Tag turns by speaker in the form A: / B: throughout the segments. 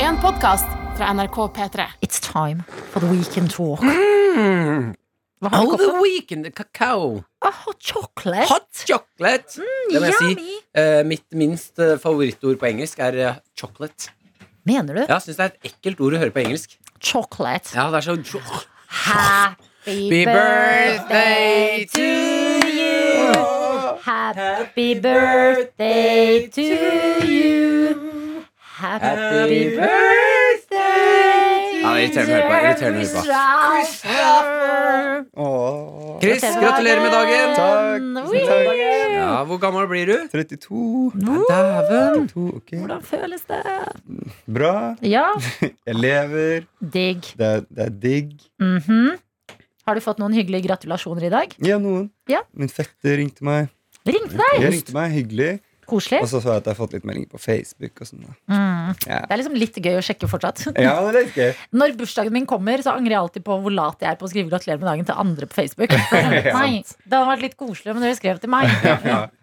A: en podkast fra NRK P3.
B: It's time for the weekend talk. Hva har du i
C: Oh, the
B: koppen?
C: weekend kakao.
B: Ah, hot chocolate.
C: Hot chocolate. det må jeg si.
B: Mm, Yummy.
C: Eh, mitt minst eh, favorittord på engelsk er eh, chocolate.
B: Mener du?
C: Jeg syns det er et ekkelt ord å høre på engelsk.
B: Chocolate.
C: Ja, det er så
B: Happy
C: Happy birthday to you.
B: Happy birthday to you. Happy birthday
C: Ja, irriterende å høre på, irriterende å høre på.
B: Christopher.
C: Chris, gratulerer med dagen.
D: Takk, tusen takk.
C: Ja, Hvor gammel blir du?
D: 32.
C: Dæven.
D: 32, ok.
B: Hvordan føles det?
D: Bra.
B: Ja,
D: Jeg lever.
B: digg.
D: Det er, det er digg.
B: Mhm. Har du fått noen hyggelige gratulasjoner i dag?
D: Ja, noen.
B: Ja.
D: Min fetter ringte meg.
B: Ring til deg!
D: Jeg ringte meg, Hyggelig.
B: Koselig.
D: Og så så jeg at jeg har fått litt meldinger på Facebook. og sånn da.
B: Mm.
D: Ja.
B: Det er liksom litt gøy å sjekke fortsatt.
D: Ja, det er litt gøy.
B: Når bursdagen min kommer, så angrer jeg alltid på hvor lat jeg er på å skrive 'gratulerer med dagen' til andre på Facebook. Nei, Det hadde vært litt koselig om dere skrev til meg. Ja.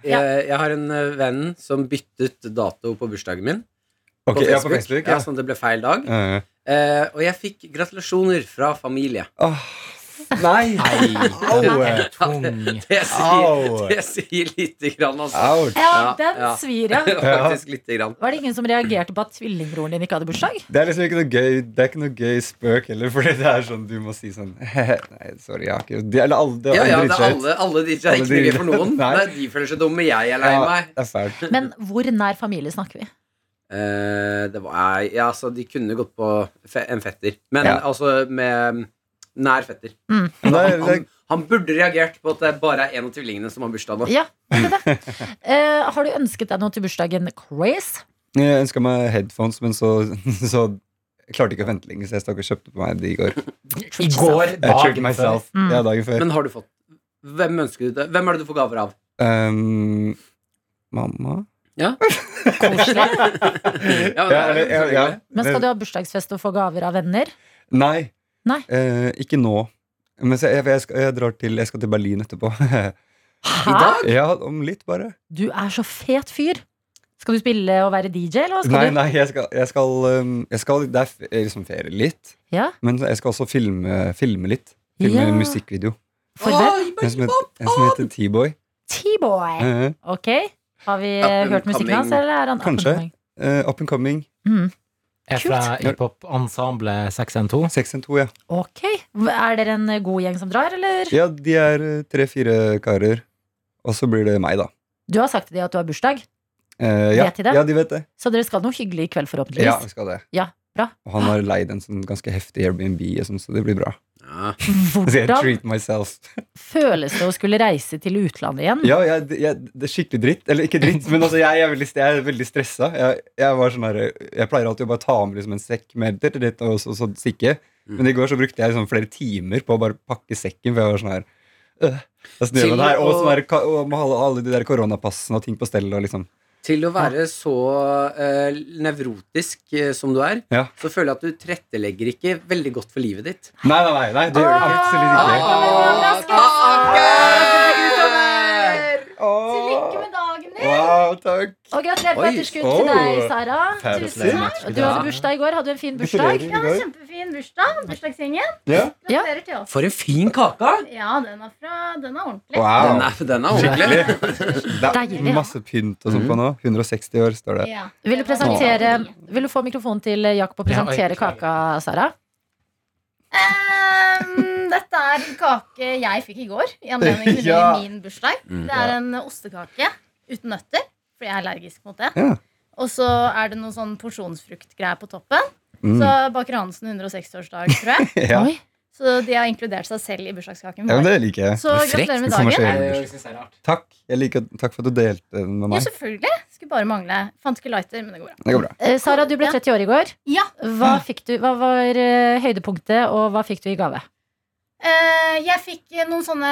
C: Jeg, jeg har en eh, venn som byttet dato på bursdagen min.
D: Ok, ja, på Facebook.
C: Ja,
D: Ja.
C: Sånn at det ble feil dag.
D: Ja, Ah. ja.
C: Eh, og jeg fikk gratulasjoner fra familie.
D: Åh, nei! Au!
E: Tung.
C: Det sier,
D: Au!
C: det sier lite grann, altså.
D: Au!
B: Ja,
C: Ja,
B: den
C: ja.
B: svir, ja.
C: Faktisk lite grann.
B: Var det ingen som reagerte på at tvillingbroren din ikke hadde bursdag?
D: Det er liksom ikke noe gøy Det er ikke noe gøy spøk heller, Fordi det er sånn du må si sånn Nei, sorry, jeg har ikke Det er alle, det er
C: Ja, ja,
D: alle
C: det er
D: drittskjøt.
C: alle, alle de som er
D: Alle
C: ikke
D: de-
C: mye for noen.
D: Nei.
C: Nei. De føler seg dumme, jeg er lei
D: Ja,
C: meg.
D: Det er fælt.
B: Men hvor nær familie snakker vi?
C: Eh, det var, ja, altså, de kunne gått på fe en fetter, men
D: Ja.
C: altså med nær fetter.
D: Men det er, det
C: Han, han burde reagert på at det bare er en av tvillingene som har bursdag nå.
B: Ja, det er det. Eh, har du ønsket deg noe til bursdagen, Chris?
D: er, jeg ønska meg headphones, men så, så jeg klarte ikke å vente lenge, så jeg stakk og kjøpte på meg de i går.
E: I går,
D: Jeg tricked
E: dagen før.
D: myself. Ja, dagen før.
C: Mm. Men har du fått Hvem ønsker du det? Hvem er det du får gaver av?
D: Um, mamma?
B: Koselig.
C: Ja, liksom men,
D: Ja, eller- ja, ja.
B: Men skal du ha bursdagsfest og få gaver av venner?
D: Nei.
B: Nei.
D: Eh, ikke nå. Men så, jeg, jeg, skal, jeg drar til Jeg skal til Berlin etterpå.
C: I
B: Hæ?
C: dag?
D: ja, om litt, bare.
B: Du er så fet fyr. Skal du spille og være DJ, eller hva skal
D: Nei,
B: du?
D: nei, jeg skal, jeg skal, um, jeg skal Det er f- liksom ferie litt.
B: Ja,
D: Men jeg skal også filme, filme litt. Filme
B: Ja.
D: en musikkvideo.
B: for hvem?
C: Oi,
D: En som heter, en som heter T-Boy.
B: T-boy.
D: Eh,
B: Ok, har vi
C: Up and
B: hørt musikken hans,
C: coming.
B: eller er han up and
D: Kanskje.
B: coming?
D: eh, up and coming.
B: Mm.
E: Er fra hiphop-ensemblet 612.
D: 612, ja.
B: Ok, er dere en god gjeng som drar, eller?
D: Ja, de er tre-fire karer. Og så blir det meg, da.
B: Du har sagt til dem at du har bursdag,
D: Eh, ja.
B: Vet de det?
D: ja, de vet det.
B: så dere skal noe hyggelig i kveld
D: Ja,
B: forhåpentligvis.
D: vi skal det.
B: Ja, bra.
D: Og han har leid en sånn ganske heftig Airbnb, og sånn, så det blir bra.
C: Ja.
D: Så jeg
B: Hvordan
D: treat myself.
B: føles det å skulle reise til utlandet igjen?
D: Ja, jeg, jeg, det er skikkelig dritt. Eller ikke dritt, men altså, jeg, er veldig, jeg er veldig stressa. Jeg, jeg, var sånn her, jeg pleier alltid å bare ta med liksom en sekk med dritt dritt og så, så stikke.
C: Mm.
D: Men i går så brukte jeg liksom flere timer på å bare pakke sekken, for jeg var sånn her øh, det er snø
C: Til
D: over her, og,
C: å-
D: sånn her, ka- og med alle, alle de der koronapassene og ting på stell. Og liksom.
C: Til å være så eh, nevrotisk eh, som du er,
D: Ja.
C: så føler jeg at du tilrettelegger ikke veldig godt for livet ditt.
D: Nei, nei, nei, nei, det gjør det absolutt ikke.
B: Til lykke med dagen din!
D: Wow, takk.
B: Og gratulerer på
C: Oi,
B: etterskudd
D: oh.
B: til deg, Sara.
D: Takk.
B: Tusen takk. Og Du hadde bursdag i går. Hadde du en fin bursdag?
D: Gratulerer i går.
F: Kjempefin bursdag. Bursdagsgjengen.
D: Ja.
B: Ja.
F: Gratulerer til oss.
C: For en fin kake!
F: Ja, den er, fra, den er ordentlig.
C: Den
D: Wow.
C: er, den er ordentlig.
D: Det
B: Deilig, ja.
D: er masse pynt og sånn på nå. 160 år står det.
F: Ja.
B: Vil du,
F: Det var
B: presentere,
F: veldig.
B: vil du få mikrofonen til Jakob og
E: Ja, oi,
B: presentere
E: beklager.
B: kaka, Sara?
F: Ehm, dette er en kake jeg fikk i går i anledning til
D: Ja.
F: min bursdag.
C: Mm.
F: Det er en ostekake uten nøtter, fordi jeg er allergisk mot det.
D: Ja.
F: Og så er det noe sånn porsjonsfruktgreier på toppen.
D: Mm.
F: Så baker Hansen 160-årsdag, tror jeg.
D: Ja.
B: Oi.
F: Så de har inkludert seg selv i bursdagskaken.
D: ja, men
F: vår.
D: det liker jeg.
F: Så gratulerer med dagen.
D: Konfirmasjon.
E: synes det er rart.
D: Takk. Jeg liker, at- takk for at du delte den med
F: Ja,
D: meg.
F: selvfølgelig. Skulle bare mangle. Fant ikke lighter, men det går bra.
D: Det går bra.
B: Eh, Sara, du ble
F: Ja.
B: 30 år i går.
F: Ja,
B: Hva, fikk du, hva var eh, høydepunktet, og hva fikk du i gave?
F: Eh, jeg fikk eh, noen sånne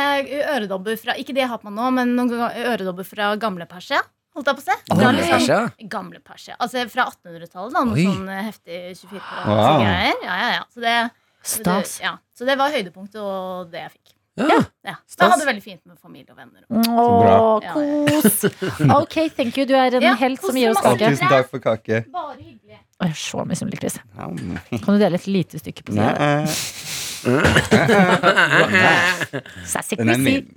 F: øredobber fra Ikke det jeg har på meg nå, men noen ga- øredobber fra gamle Persia. Holdt jeg på å se? Fra
C: Gamle
F: liksom-
C: Sasha.
F: Gamle Persia. Altså fra 1800-tallet. da, Noe
C: Oi.
F: sånn eh, heftig 24 karat
D: Wow.
F: greier. Ja, ja, ja. Så det, så
B: Stas.
F: det, ja. så det var høydepunktet og det jeg fikk.
C: Ja.
F: Ja. Så
C: Stas.
F: jeg hadde det veldig fint med familie og venner. Og.
B: Å,
F: bra.
B: kos. Ok, thank you. Du er en
F: Ja,
B: helt som
F: kos
B: gir oss
F: masse.
B: kake.
D: Tusen takk for kake.
F: Bare hyggelig.
B: Og jeg er så misunnelig, Chris.
D: Ja,
B: Kan du dele et lite stykke på siden?
D: Nei,
B: Sassy
D: den er
B: Chrissy.
D: min.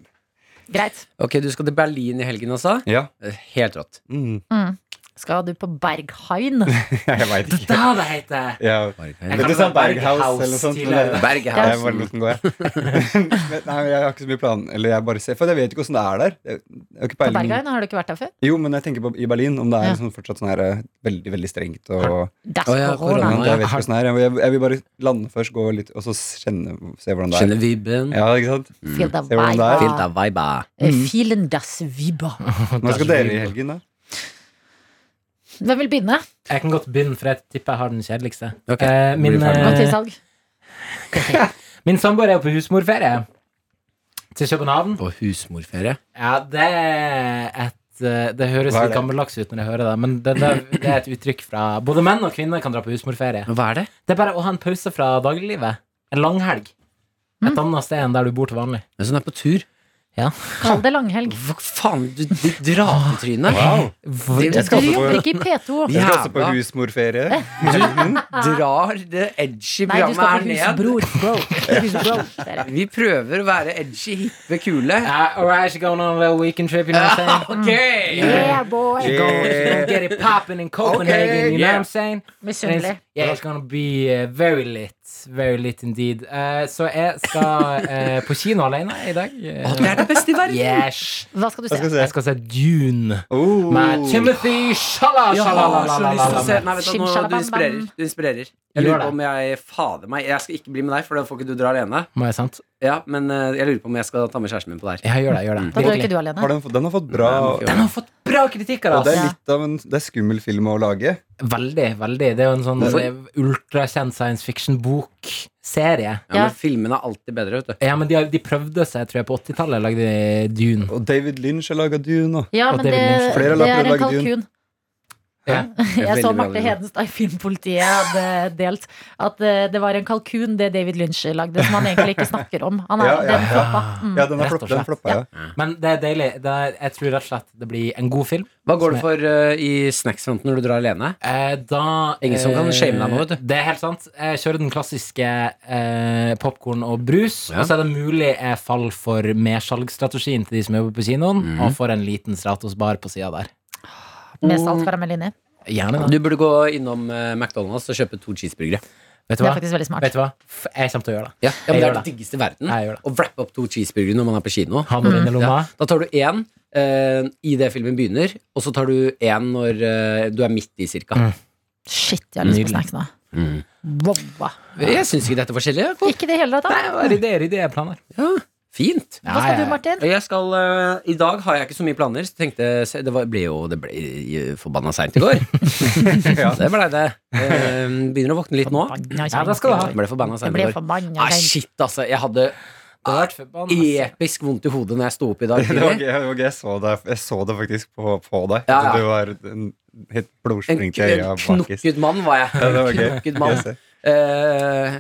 B: Greit.
C: Ok, du skal til Berlin i helgen også?
D: Ja.
C: Eh, Helt rått.
D: Mm.
B: Skal du på Berghain?
D: Jeg veit ikke.
E: Da det heter
D: Ja.
E: Jeg
D: Det
E: kan
D: er sånn
E: ta Berghaus
D: Berghaus eller noe sånt.
E: til-
D: men det-
C: Berghausen.
D: Jeg bare lot den gå, jeg. Men Nei, men jeg har ikke så mye plan. Eller jeg bare ser, for jeg vet ikke åssen det er der. Jeg, jeg har ikke
B: På
D: peiling.
B: Berghain? Har du ikke vært der før?
D: Jo, men jeg tenker på i Berlin, om det er
B: Ja.
D: sånn fortsatt sånn her eh, veldig, veldig strengt og
B: Det er
C: Å
B: korona.
C: ja, korona.
D: Men Jeg vet ikke hvordan det er. Jeg, jeg vil bare lande først, gå litt, og så kjenne, se hvordan det er.
C: Kjenner vibben.
D: Ja, ikke sant?
B: Feel the
D: Se hvordan det er.
B: vibe.
C: Fint av ah. viba.
D: Mm.
B: Eh, Feeling das vibe.
D: Nå skal dere i helgen, da.
B: Hvem vil begynne?
E: Jeg kan godt begynne, for jeg tipper jeg har den kjedeligste.
C: Ok,
E: Eh, min
C: blir ferdig.
E: eh,
B: Gå til salg.
E: min samboer er jo på husmorferie til København.
C: På husmorferie.
E: Ja, det er et eh, Det høres
D: Hva er
E: litt
D: det?
E: gammeldags ut når jeg hører det, men det, det, det er et uttrykk fra Både menn og kvinner kan dra på husmorferie.
C: Hva er det?
E: Det er bare å ha en pause fra dagliglivet. En langhelg. Et annet sted enn der du bor til vanlig.
C: Det er sånn er på tur.
B: Kall det langhelg.
C: Hva faen? Du, du drar til trynet.
B: Du
C: Jeg
D: skal også på-
B: jobber ikke i P2.
D: Jeg skal også på
C: Jævla.
D: husmorferie.
B: Eh,
C: Du drar det edgy
B: Nei, du
C: programmet
B: skal
C: her
B: på
C: ned.
B: Husbror. Bro. Husbro. Det er det.
C: Vi prøver å være edgy, hippe, kule.
E: Uh, alright, she going on a little weekend trip, you know what I'm saying?
C: Ok!
B: Yeah,
D: Eh,
B: boy.
E: She going, she gonna get it poppin' in Copenhagen,
C: Okay,
E: you know
C: yeah.
E: what I'm saying? And it's-
B: Misunnelig.
E: Yeah, it's gonna be uh, very lit. Very lit indeed. Eh, så jeg skal eh, på kino alene i dag. Eh,
C: Å, det er det beste i verden!
E: yes!
B: Hva skal du
D: Hva
B: se?
D: skal vi
E: Jeg
D: se?
E: skal se Dune
D: Oh.
E: med Timothy Shala,
C: Jeg
E: shala,
C: har så lyst til å se Nei, vet du, nå, du
B: Shimshalabam.
C: inspirerer. Du inspirerer. Jeg
E: Gjør
C: lurer
E: det.
C: på om jeg Fader meg, jeg skal ikke bli med deg, for da får ikke du dra alene.
E: Må jeg sant?
C: Ja, men eh, jeg lurer på om jeg skal ta med kjæresten min på det her.
E: Ja, gjør det, gjør det.
B: Da drar
E: Virkelig.
B: ikke du
D: Har
B: alene.
D: den, fått- den har fått bra
C: Nei, jeg må ikke
E: Den har fått bra kritikker,
D: Og det
E: altså.
D: er litt av en det er skummel film å lage.
E: Veldig, veldig. Det er jo en sånn
C: Hvorfor?
E: ultrakjent science fiction-bokserie.
C: Ja,
B: Ja.
C: men filmen er alltid bedre, vet du.
E: Ja, men de, har- de prøvde seg, tror jeg, på 80-tallet. Lagde de Dune.
D: Og David Lynch har laga Dune og
B: Ja,
E: Og
B: men det,
E: David Lynch.
D: Flere
B: det er
D: lapper
B: en
D: lagd i
B: kalkun.
E: Ja.
B: Jeg så
C: Veldig bra,
B: Marte
C: veldig bra.
B: Hedenstad i Filmpolitiet hadde delt at eh, det var en kalkun det David Lynch lagde, som han egentlig ikke snakker om. Han er
D: Ja, ja.
B: den floppa. Mm.
D: Ja, den har
E: Rett og
D: floppa, den
E: slett.
D: floppa, ja.
E: Men det er deilig. Det er, jeg tror rett og slett det blir en god film.
C: Hva går det for eh, i snacksfronten når du drar alene?
E: Eh, da
C: Ingen som kan shame deg nå, vet
E: du. Det er helt sant. Jeg kjører den klassiske eh, popkorn og brus.
C: Ja.
E: Og så er det mulig jeg faller for mersalgsstrategien til de som jobber på kinoen,
C: Mhm.
E: og får en liten Stratos-bar på sida der.
B: Med salt karamell inni.
E: Gjerne det.
C: Du burde gå innom eh, McDonald's og kjøpe to cheeseburgere.
E: Vet du
B: Det
E: hva?
B: er faktisk veldig smart.
E: Vet du hva? F- Jeg kommer til å gjøre det.
C: Ja, men
E: Jeg
C: Det
E: gjør
C: er det diggeste i verden.
E: Jeg gjør det.
C: Å wrappe opp to cheeseburgere når man er på kino.
E: Ha noen i lomma.
C: Ja. Da tar du én eh, i det filmen begynner, og så tar du én når eh, du er midt i, cirka.
B: Shit, jeg har lyst på
E: Nydelig.
B: snacks nå.
C: Mm.
B: Bobba.
C: Jeg syns ikke dette er forskjellig. jeg.
B: Ikke i det hele tatt.
E: Nei, det er ideer, ideer, planer.
C: Ja, fint.
B: Hva skal du, Martin?
C: Jeg skal, eh, I dag har jeg ikke så mye planer, så tenkte jeg- se, Det var, ble jo det ble, eh, forbanna seint i går. Det blei det. Eh, begynner å våkne litt nå.
E: Ja, det skal du ha.
C: Jeg ble forbanna
B: Jeg
C: seint
B: ble
C: i går.
B: forbanna.
C: Ah, shit, altså. Jeg hadde episk vondt i hodet når jeg sto opp i dag.
D: Det var
C: tidlig.
D: gøy. det var gøy. Jeg så det, jeg så det faktisk på, på deg.
C: Ja, ja.
D: Du var en helt
C: En,
D: blodsprengt i øya
C: en
D: bakis.
C: knokket mann var jeg.
D: Ja, det var gøy.
C: Knokket mann.
D: Gøy å se.
C: Eh,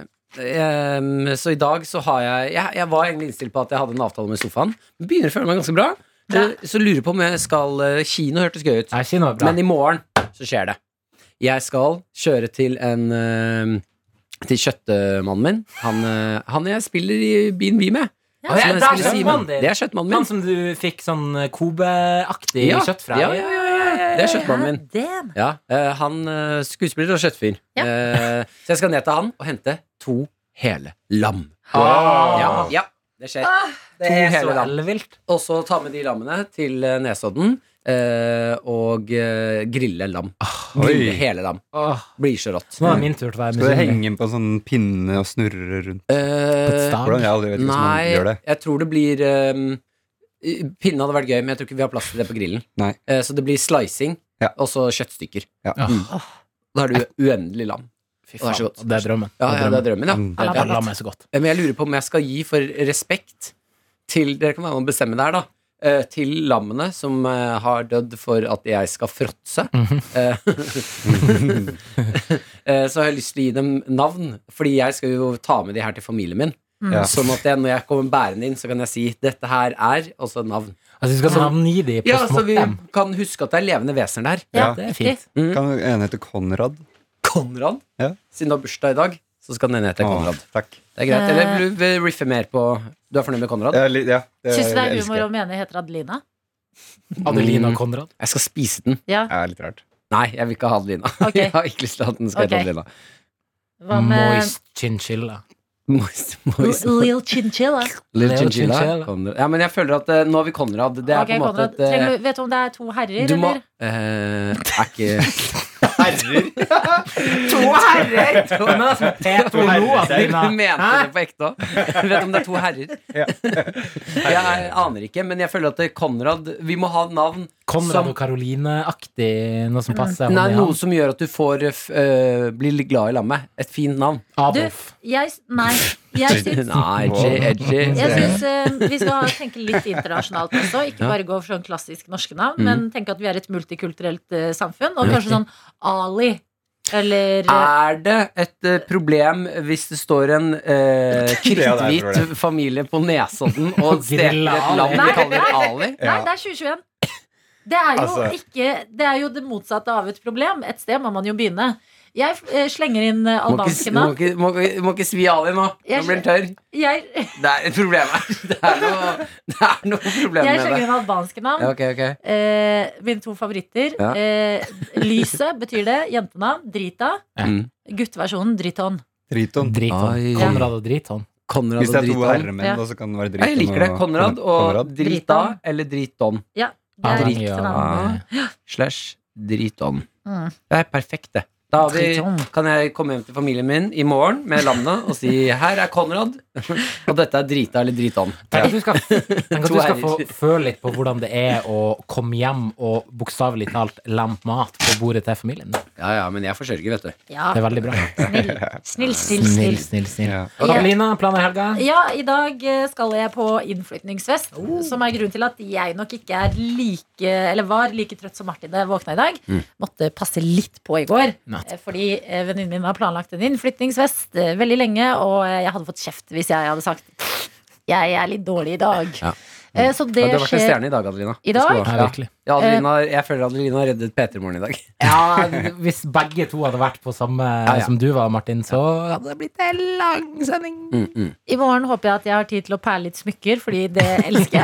C: em, så i dag så har jeg, jeg Jeg var egentlig innstilt på at jeg hadde en avtale med sofaen. Begynner å føle meg ganske bra. Eh, så lurer jeg på om jeg skal eh, Kino hørtes gøy ut.
E: Nei, kino er bra.
C: Men i morgen så skjer det. Jeg skal kjøre til en eh, Til kjøttmannen min. Han, eh, han jeg spiller i B&B med.
E: Ja,
C: Som
E: det
C: jeg
E: er
C: spiller Simon.
E: kjøttmannen din.
C: Det er kjøttmannen min.
E: Han som du fikk sånn Kobe-aktig
C: Ja,
E: kjøtt fra?
C: ja, ja, ja, ja. Det er kjøttmannen min.
B: Damn.
C: Ja, eh, han eh, skuespiller og kjøttfyr.
B: Ja.
C: Eh, så jeg skal ned til han og hente to hele lam.
E: Ah.
C: Ja, ja, det skjer.
E: Det
C: To
E: er
C: hele
E: så
C: lam.
E: ellevilt.
C: Og så ta med de lammene til eh, Nesodden eh, og eh, grille lam. Grille
D: Ah, Oi.
C: hele lam.
E: Åh,
C: Blir så rått.
E: Så nå er det min tur til å være
D: Skal det
E: misunnelig.
D: henge på en sånn pinne og snurre rundt?
C: Eh,
E: Stav.
D: Hvordan? Jeg aldri vet hvordan man
C: nei,
D: gjør det.
C: jeg tror det blir um, Pinne hadde vært gøy, men jeg tror ikke vi har plass til det på grillen.
D: Nei.
C: Eh, så det blir slicing
D: Ja.
C: og så kjøttstykker.
D: Ja. Ah.
C: Mm. Da er du uendelig lam.
E: Fy
C: Vær så
E: faen,
C: god.
E: det er drømmen.
C: Ja, ja, det er drømmen, ja.
D: Mm.
C: Det er
E: Ja,
C: drømmen.
E: la meg så godt.
C: Eh, Men jeg lurer på om jeg skal gi for respekt til Dere kan være med å bestemme der, da. eh, Til lammene som eh, har dødd for at jeg skal fråtse. Eh, eh, Så har jeg lyst til å gi dem navn, Fordi jeg skal jo ta med de her til familien min.
D: Ja.
C: Sånn at jeg, når jeg kommer bærende inn, så kan jeg si 'dette her er' og så navn.
E: Altså, vi skal
C: Ja.
E: navngi de på
C: Ja, så vi
E: småttem.
C: kan huske at det er levende vesener der.
D: Ja.
E: Det er fint.
D: Kan en hete Konrad?
C: Konrad.
D: Ja.
C: Siden du har bursdag i dag, så skal den ene hete Konrad.
D: Å, Takk.
C: Det er greit.
B: Eh.
C: Eller vil du eh, riffe mer på Du er fornøyd med Konrad?
D: Jeg, li- ja, det-
B: Syns du det er
D: jeg
B: humor
D: elsker
B: å mene heter Adelina?
E: Adelina Konrad.
C: Jeg skal spise den.
B: Ja,
D: Det er litt rart.
C: Nei, jeg vil ikke ha Adelina.
B: Ok.
C: Jeg har ikke lyst til at den skal hete
B: Ok.
C: Adelina.
B: Hva med
E: Moist chinchilla.
C: Moist, moist.
B: Lill Chinchilla?
C: Little
E: Little
C: Chinchilla.
E: Chinchilla.
C: Konrad. Ja, men jeg føler at eh, nå har vi Konrad. Det er
B: Ok,
C: på en måte
B: Konrad,
C: et eh,
B: trenger du, vet du om det er to herrer,
C: Du må
B: eller?
C: eh, Er ikke
D: Herrer!
C: To herrer! To,
E: Men altså, Peto nå, Adelina.
C: du mente
E: Hæ?
C: det på ekte òg. Vet om det er to herrer. Jeg aner ikke, men jeg føler at eh, Konrad Vi må ha navn.
E: Konrad
C: Som-
E: og Karoline-aktig, noe som passer.
C: Nei,
E: hånd i
C: noe
E: hånd.
C: som gjør at du får eh, f- eh, bli litt glad i lammet. Et fint navn.
E: Adolf.
B: Jeg, s- nei, jeg syns
C: Nei, edgy, edgy.
B: jeg synes, eh, vi skal ha- tenke litt internasjonalt også. Ikke
C: Ja. Mm.
B: bare gå for sånn klassisk norske navn, men tenke at vi er et multikulturelt eh, samfunn. Og kanskje sånn Ali eller eh,
C: Er det et eh, problem hvis det står en eh,
D: det er det jeg tror
C: kritthvit familie på Nesodden og steker
E: griller
C: et lam de
B: Ali.
C: kaller Ali?
B: Nei, det er 2021. Det er, jo
D: Altså.
B: ikke, det er jo det motsatte av et problem. Et sted må man jo begynne. Jeg eh, slenger inn eh,
C: Må ikke,
B: albanske
C: må,
B: navn.
C: ikke, må, ikke, må ikke svi Ali nå. Nå
B: Jeg-
C: blir han tørr.
B: Jeg,
C: Det er et problem her. Det er noe, det er noe problem
B: jeg
C: med
B: slenger
C: det.
B: inn albanske
C: Ja,
B: navn.
C: ok, ok.
B: Eh, mine to favoritter.
C: Ja.
B: Eh, lyset betyr det. Jentenavn. Drita.
E: Ja.
C: Mm.
B: Gutteversjonen Driton.
D: Triton.
E: Drithånd.
C: Ai.
E: Konrad og drithånd.
C: Konrad
D: Hvis det er to
C: Driton.
D: herremenn,
B: Ja.
D: da, så kan det være
C: Ja,
D: Driton.
C: Jeg liker det.
D: og-
C: Konrad og
D: Konrad.
C: Drita eller Driton.
B: Det
C: Ah.
B: er
E: Avhengig
B: riktig
E: av-
B: navn.
C: Slash Driton.
B: Mm.
C: Det er perfekt, det. Da har vi,
B: Driton.
C: kan jeg komme hjem til familien min i morgen med lammet og si 'her er Konrad', og dette er Drita eller Driton.
E: Tenk at du skal, tenk at
C: To
E: du skal få
C: herrer.
E: føle litt på hvordan det er å komme hjem og bokstavelig talt lampe mat på bordet til familien. Det
C: Ja ja, men jeg forsørger, vet du.
B: Ja,
E: er veldig bra.
B: snill. Snill, snill,
E: Snill,
B: snill.
E: snill, snill.
D: Ja.
B: Ja.
E: Karolina, planer i helga?
B: Ja, i dag eh, skal jeg på innflytningsfest,
C: Oh.
B: som er grunnen til at jeg nok ikke er like, eller var like trøtt som Martin da jeg våkna i dag. Måtte passe litt på i går,
E: Natt.
B: eh, fordi eh, venninnen min har planlagt en innflytningsfest eh, veldig lenge, og eh, jeg hadde fått kjeft hvis jeg hadde sagt jeg er litt dårlig i dag.
C: Ja.
B: Eh, Så det
C: Ja, du har vært en
B: skjer
C: stjerne i dag, Adelina.
B: I dag? Eh,
C: Du skal
E: Ja,
C: ha-
E: virkelig.
C: Ja, Adelina, jeg føler Adelina har reddet P3-morgen i dag.
E: Ja, hvis begge to hadde vært på samme
C: ja.
E: som du var, Martin, så hadde det blitt en lang sending.
C: Mm, mm.
B: I morgen håper jeg at jeg har tid til å pære litt smykker, fordi det elsker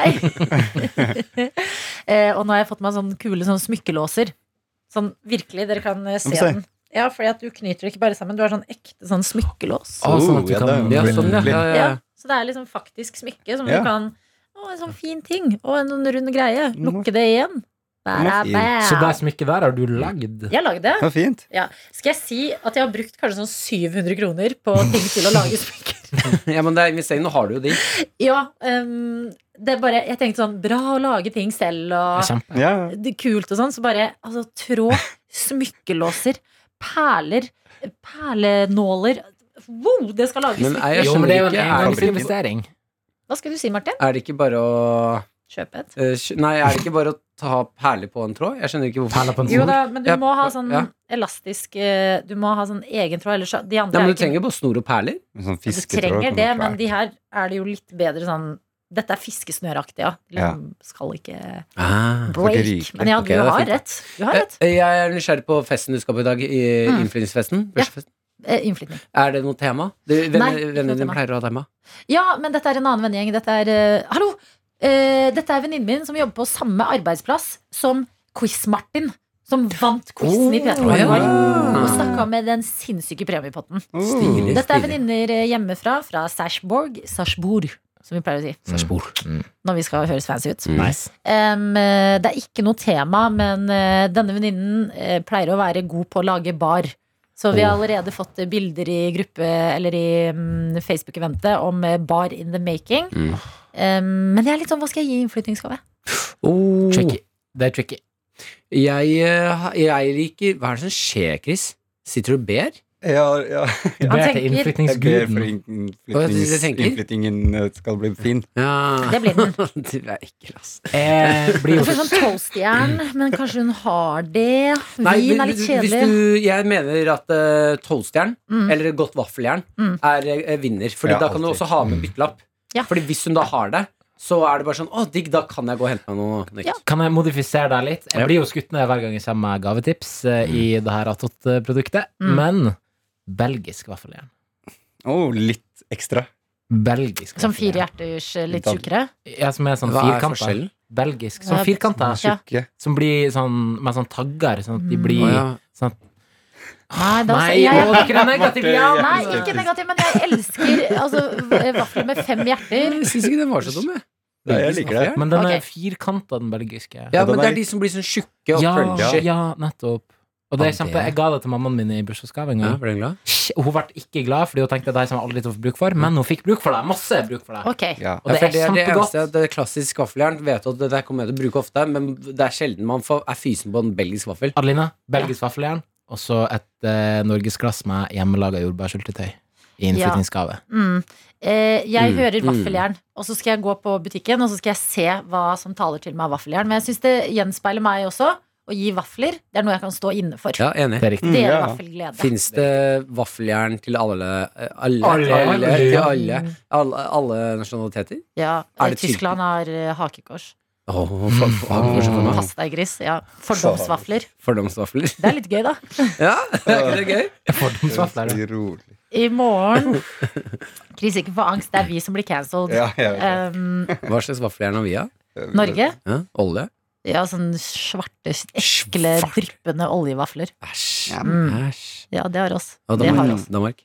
B: jeg. Eh, og nå har jeg fått meg sånne kule sånne smykkelåser. Sånn virkelig, dere kan eh, se
D: Ja, men se.
B: den. Ja, fordi at du knyter det ikke bare sammen, du har sånn ekte sånn smykkelås.
E: Å, sånn at du
D: Oh, ja,
E: kan-
D: det er jo
C: Ja, sånn, ja. ja, ja.
B: Ja, så det er liksom faktisk smykke som
D: Ja.
B: du kan Å, en sånn fin ting. Å, en sånn rund greie.
D: Nå-
B: Lukke det igjen. Bæ,
D: Nå fint.
B: bæ.
E: Så det smykket der har du lagd.
B: Jeg har lagd det.
D: Det var fint.
B: Ja. Skal jeg si at jeg har brukt kanskje sånn 700 kroner på ting til å lage smykker?
C: ja, men det er investering. Nå har du jo de.
B: Ja, ehm, det er bare Jeg tenkte sånn Bra å lage ting selv og
E: Kjempe.
D: Ja.
B: det er kult og sånn, så bare altså, tråd, smykkelåser, perler, perlenåler Wow, det skal lages
C: Men er
B: smykker.
C: jeg-
E: Jo, men det er jo en
C: skjønner ikke.
E: engangsinvestering.
B: Hva skulle du si, Martin?
C: Er det ikke bare å
B: Kjøp et.
C: eh, skj- Nei, er det ikke bare å ta perler på en tråd? Jeg skjønner ikke hvorfor.
E: Perler på en
B: Jo
E: snor.
B: da, men du
C: Ja,
B: må ha sånn
C: ja.
B: elastisk eh, Du må ha sånn egen tråd, ellers så- de andre
C: Nei, men
B: er
C: Du trenger jo bare snor og perler.
D: En Sånn
B: Du
D: fisketråd.
B: trenger
D: kan
B: det,
D: nok være.
B: men de her er det jo litt bedre sånn Dette er fiskesnøraktig, ja. De
D: Ja.
B: liksom skal ikke
C: Ah.
D: ikke
B: break.
D: ryke.
B: Men ja,
C: Ok,
B: du
C: det er
B: har
C: fint. Eh,
B: rett. Du har rett.
C: Jeg er nysgjerrig på festen du skal på i dag. i
B: Mm.
C: Innflytningsfesten.
B: Ja.
C: Bursdagsfesten.
B: Eh, Innflytning.
C: Er det noe tema? Det- hvem-
B: Nei, ikke noe
C: Vennene dine
B: tema.
C: pleier å ha tema.
B: Ja, men dette er en annen vennegjeng. Dette er eh, Hallo! Eh, dette er venninnen min som jobber på samme arbeidsplass som Quiz-Martin. Som vant quizen i P3 Morgen i går.
C: ja.
B: Og snakka med den sinnssyke premiepotten.
D: Oh.
C: Stilig.
B: Dette er venninner eh, hjemmefra, fra Sarpsborg. Sarpsborg, som vi pleier å si.
C: Mm.
B: Når vi skal høres fancy ut.
E: Nice.
B: Em, eh, det er ikke noe tema, men eh, denne venninnen eh, pleier å være god på å lage bar. Så vi har allerede fått eh, bilder i gruppe eller i mm, Facebook-eventet om eh, bar in the making.
C: Mm.
B: Em, men jeg er litt sånn, hva skal jeg gi i innflyttingsgave?
C: Oh.
E: Tricky. Det er tricky.
C: Jeg, eh, jeg liker Hva er det som skjer, Chris? Sitter du og ber?
D: Ja, ja.
E: Du
B: Han
E: ber til
B: tenker-
D: Jeg ber
E: innflytningsguden.
D: for
C: Hva er det
D: innflyttings-
C: du tenker?
D: innflyttingen eh, skal bli fin.
C: Ja.
B: Det blir den.
C: du er ekkel, ass.
E: Jeg blir
B: Jeg
E: jo
B: får sånn toastjern, men kanskje hun har det.
C: Nei,
B: Vin er
C: men
B: litt
C: hvis
B: kjedelig.
C: du, jeg mener at uh, tolvstjern,
B: Mm.
C: eller et godt vaffeljern,
B: Mm.
C: er eh, vinner. Fordi
D: Ja,
C: da kan du
D: alltid.
C: også ha med byttelapp.
B: Ja.
C: Fordi hvis hun da har det, så er det bare sånn Å, digg, da kan jeg gå og hente meg noe nytt.
B: Ja.
E: Kan jeg modifisere deg litt? Jeg
C: Ja. Mm.
E: blir jo skutt ned hver gang jeg kommer med gavetips eh, i det her Atot-produktet.
B: Mm.
E: Men belgisk vaffeljern.
D: Oh, litt ekstra.
E: Belgisk
B: Som
E: vaffeljern.
B: fire hjerters eh, litt tjukkere?
E: Ja, som er sånn
C: Hva er
E: firkanta.
C: forskjellen?
E: Belgisk.
B: Ja,
E: Sånn firkanta.
B: Ja.
D: Tjukke.
E: Som blir sånn med sånn tagger, sånn at de
B: Mm.
E: blir
C: Å, ja.
E: sånn at,
B: Nei, da,
E: Nei,
B: jeg,
E: å, dere er negative! Ja,
D: Marte,
E: nei.
B: nei, ikke negativ, men jeg elsker altså, v- vafler med fem hjerter.
C: Jeg syns ikke den var så dum, jeg.
D: Nei, jeg liker det.
E: Men den er
B: Ok.
E: firkanta, den belgiske.
C: Ja,
D: den
C: men
D: er
C: det er
D: litt-
C: de som blir sånn tjukke og
E: ja,
C: crunchy.
E: ja, nettopp. Og det er
C: Ja, det-
E: kjempe, Jeg ga det til mammaen min i bursdagsgave en
C: Ja,
E: gang.
C: ble den glad?
E: Sh- Hun ble ikke glad, fordi hun tenkte at det her kommer jeg aldri til å få bruk for, men hun fikk bruk for det. Masse bruk for det.
B: Ok.
D: Ja.
E: Og
C: ja, for
E: det er
C: det er det
E: kjempegodt.
C: eneste at det klassisk vaffeljern vet du at det der kommer jeg til å bruke ofte, men det er sjelden man får, er fysen på en belgisk vaffel.
E: Adeline, belgisk vaffeljern, og så et eh, norgesglass med hjemmelaga jordbærsyltetøy i innflyttingsgave.
B: Mm. Eh, jeg
C: Mm,
B: hører
C: mm.
B: vaffeljern, og så skal jeg gå på butikken og så skal jeg se hva som taler til meg av vaffeljern. Men jeg syns det gjenspeiler meg også. Å gi vafler, det er noe jeg kan stå inne for.
C: Ja, enig.
E: Det er riktig.
B: Det er
D: ja.
B: vaffelglede.
C: Fins det vaffeljern til alle eh, Alle?
E: Alle.
C: alle, til alle,
B: Mm.
C: alle, alle nasjonaliteter?
B: Ja,
C: Er det
B: Tyskland har eh, hakekors.
C: Åh, for, for, for meg.
B: Pass deg, gris. Ja. Fordomsvafler.
C: Fordomsvafler.
B: Det er litt gøy, da.
C: Ja, er ikke det gøy?
E: Fordomsvafler.
D: Rolig, Rolig.
B: I morgen Chris, ikke få angst. Det er vi som blir cancelled.
D: Ja, jeg vet
B: Um,
C: Hva slags vaffeljern har vi, da?
D: det.
B: Eh, Norge?
C: Ja? Olje?
B: Ja, sånn svarte, ekle,
C: Svart.
B: dryppende oljevafler.
C: Æsj.
B: Mm.
C: Æsj.
B: Ja, det har oss.
C: Og
B: Det har
C: Danmark?
B: oss.
C: Danmark.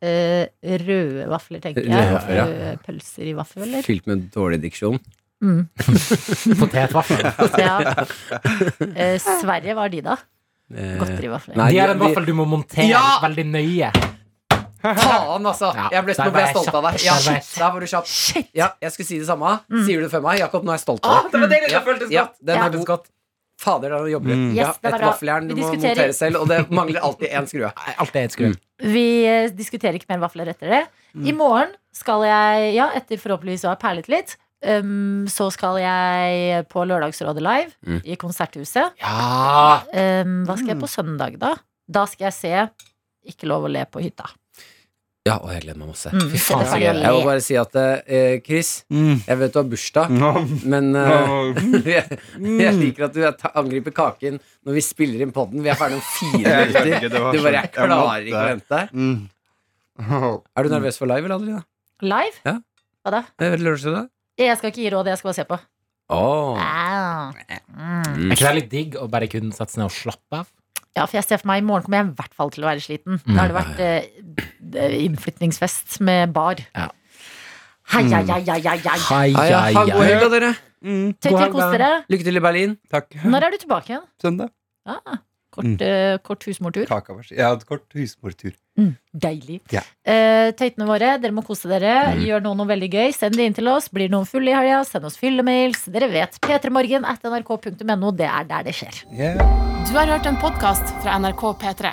B: Eh, røde vafler, tenker jeg.
C: Røde vafler, ja.
B: Røde pølser i vaffel, eller?
C: Fylt med dårlig diksjon.
B: Mm.
E: Potetvafler.
B: Ja. Eh, Sverige, hva har de, da?
C: Eh,
B: Godterivafler.
C: Nei,
E: De er en
C: de-
E: vaffel du må montere
C: Ja!
E: veldig nøye.
C: Faen, altså!
E: Ja,
C: Jeg ble,
E: der
C: nå ble
E: var
C: jeg
E: jeg
C: stolt av deg. Ja,
E: kjapp. Der var jeg-
C: shit, der var du kjapp.
B: Shit!
C: Ja, jeg skulle si det samme.
B: Mm.
C: Sier du det for meg? Jakob, nå er jeg stolt
B: Ah,
C: av deg. Ja, ja, den
B: Ja.
C: er god. Fader, der jobber du.
D: Mm.
C: Ja,
B: Yes, det var
C: et
B: bra.
C: vaffeljern du
B: Vi
C: må
B: diskuterer.
C: montere selv, og det mangler alltid én skrue.
E: Alt er et skru.
C: Mm.
B: Vi eh, diskuterer ikke mer vafler etter det. I morgen skal jeg, ja, etter forhåpentligvis å ha perlet litt, um, så skal jeg på Lørdagsrådet live
C: Mm.
B: i Konserthuset.
E: Ja!
B: Um, hva skal jeg på søndag, da? Da skal jeg se Ikke lov å le på hytta.
C: Ja, og jeg gleder meg masse.
B: Mm,
C: Fy faen,
B: det
C: så
B: var
C: gøy.
B: gøy.
C: Jeg må bare si at eh, Chris,
D: Mm.
C: jeg vet du har bursdag,
D: Nå-
C: men eh,
D: nå-
C: jeg, jeg liker at du er ta- angriper kaken når vi spiller inn podden. Vi er ferdig om fire
D: Jeg
C: minutter.
D: vet ikke, det var
C: Du
D: sånn- Mm.
C: bare, jeg klarer
D: måtte-
C: ikke å vente deg.
D: Mm. Åh.
C: Er du nervøs for live, eller, Adelina?
B: Live?
C: Ja.
B: Hva da?
C: Eh, Lørdagsrådet?
B: Jeg skal ikke gi råd, jeg skal bare se på.
C: Åh.
B: Ah. Mm.
E: Er ikke det litt digg å bare kunne sette seg ned og slappe av?
B: Ja, for jeg ser for meg i morgen kommer jeg i hvert fall til å være sliten. Da har det vært eh, innflytningsfest med bar.
E: Ja. Mm.
B: Hei, hei, hei, hei, hei, hei.
E: Hei,
C: Ja, ja, ha god helg, da, dere.
D: Mm.
B: Tøy til, kos dere.
C: Lykke til i Berlin.
D: Takk.
B: Når er du tilbake igjen?
D: Søndag.
B: Ah, kort,
D: Mm.
B: eh, kort husmortur.
D: Kaka var Jeg hadde kort husmortur.
B: Mm, deilig.
D: Ja.
B: Eh, tøytene våre, dere må kose dere.
C: Mm.
B: Gjør noe, noe veldig gøy. Send det inn til oss. Blir noen fulle i helga, send oss fyllemails. Dere vet. p3morgen at nrk.no. Det er der det skjer.
D: Yeah.
A: Du har hørt en podkast fra NRK P3.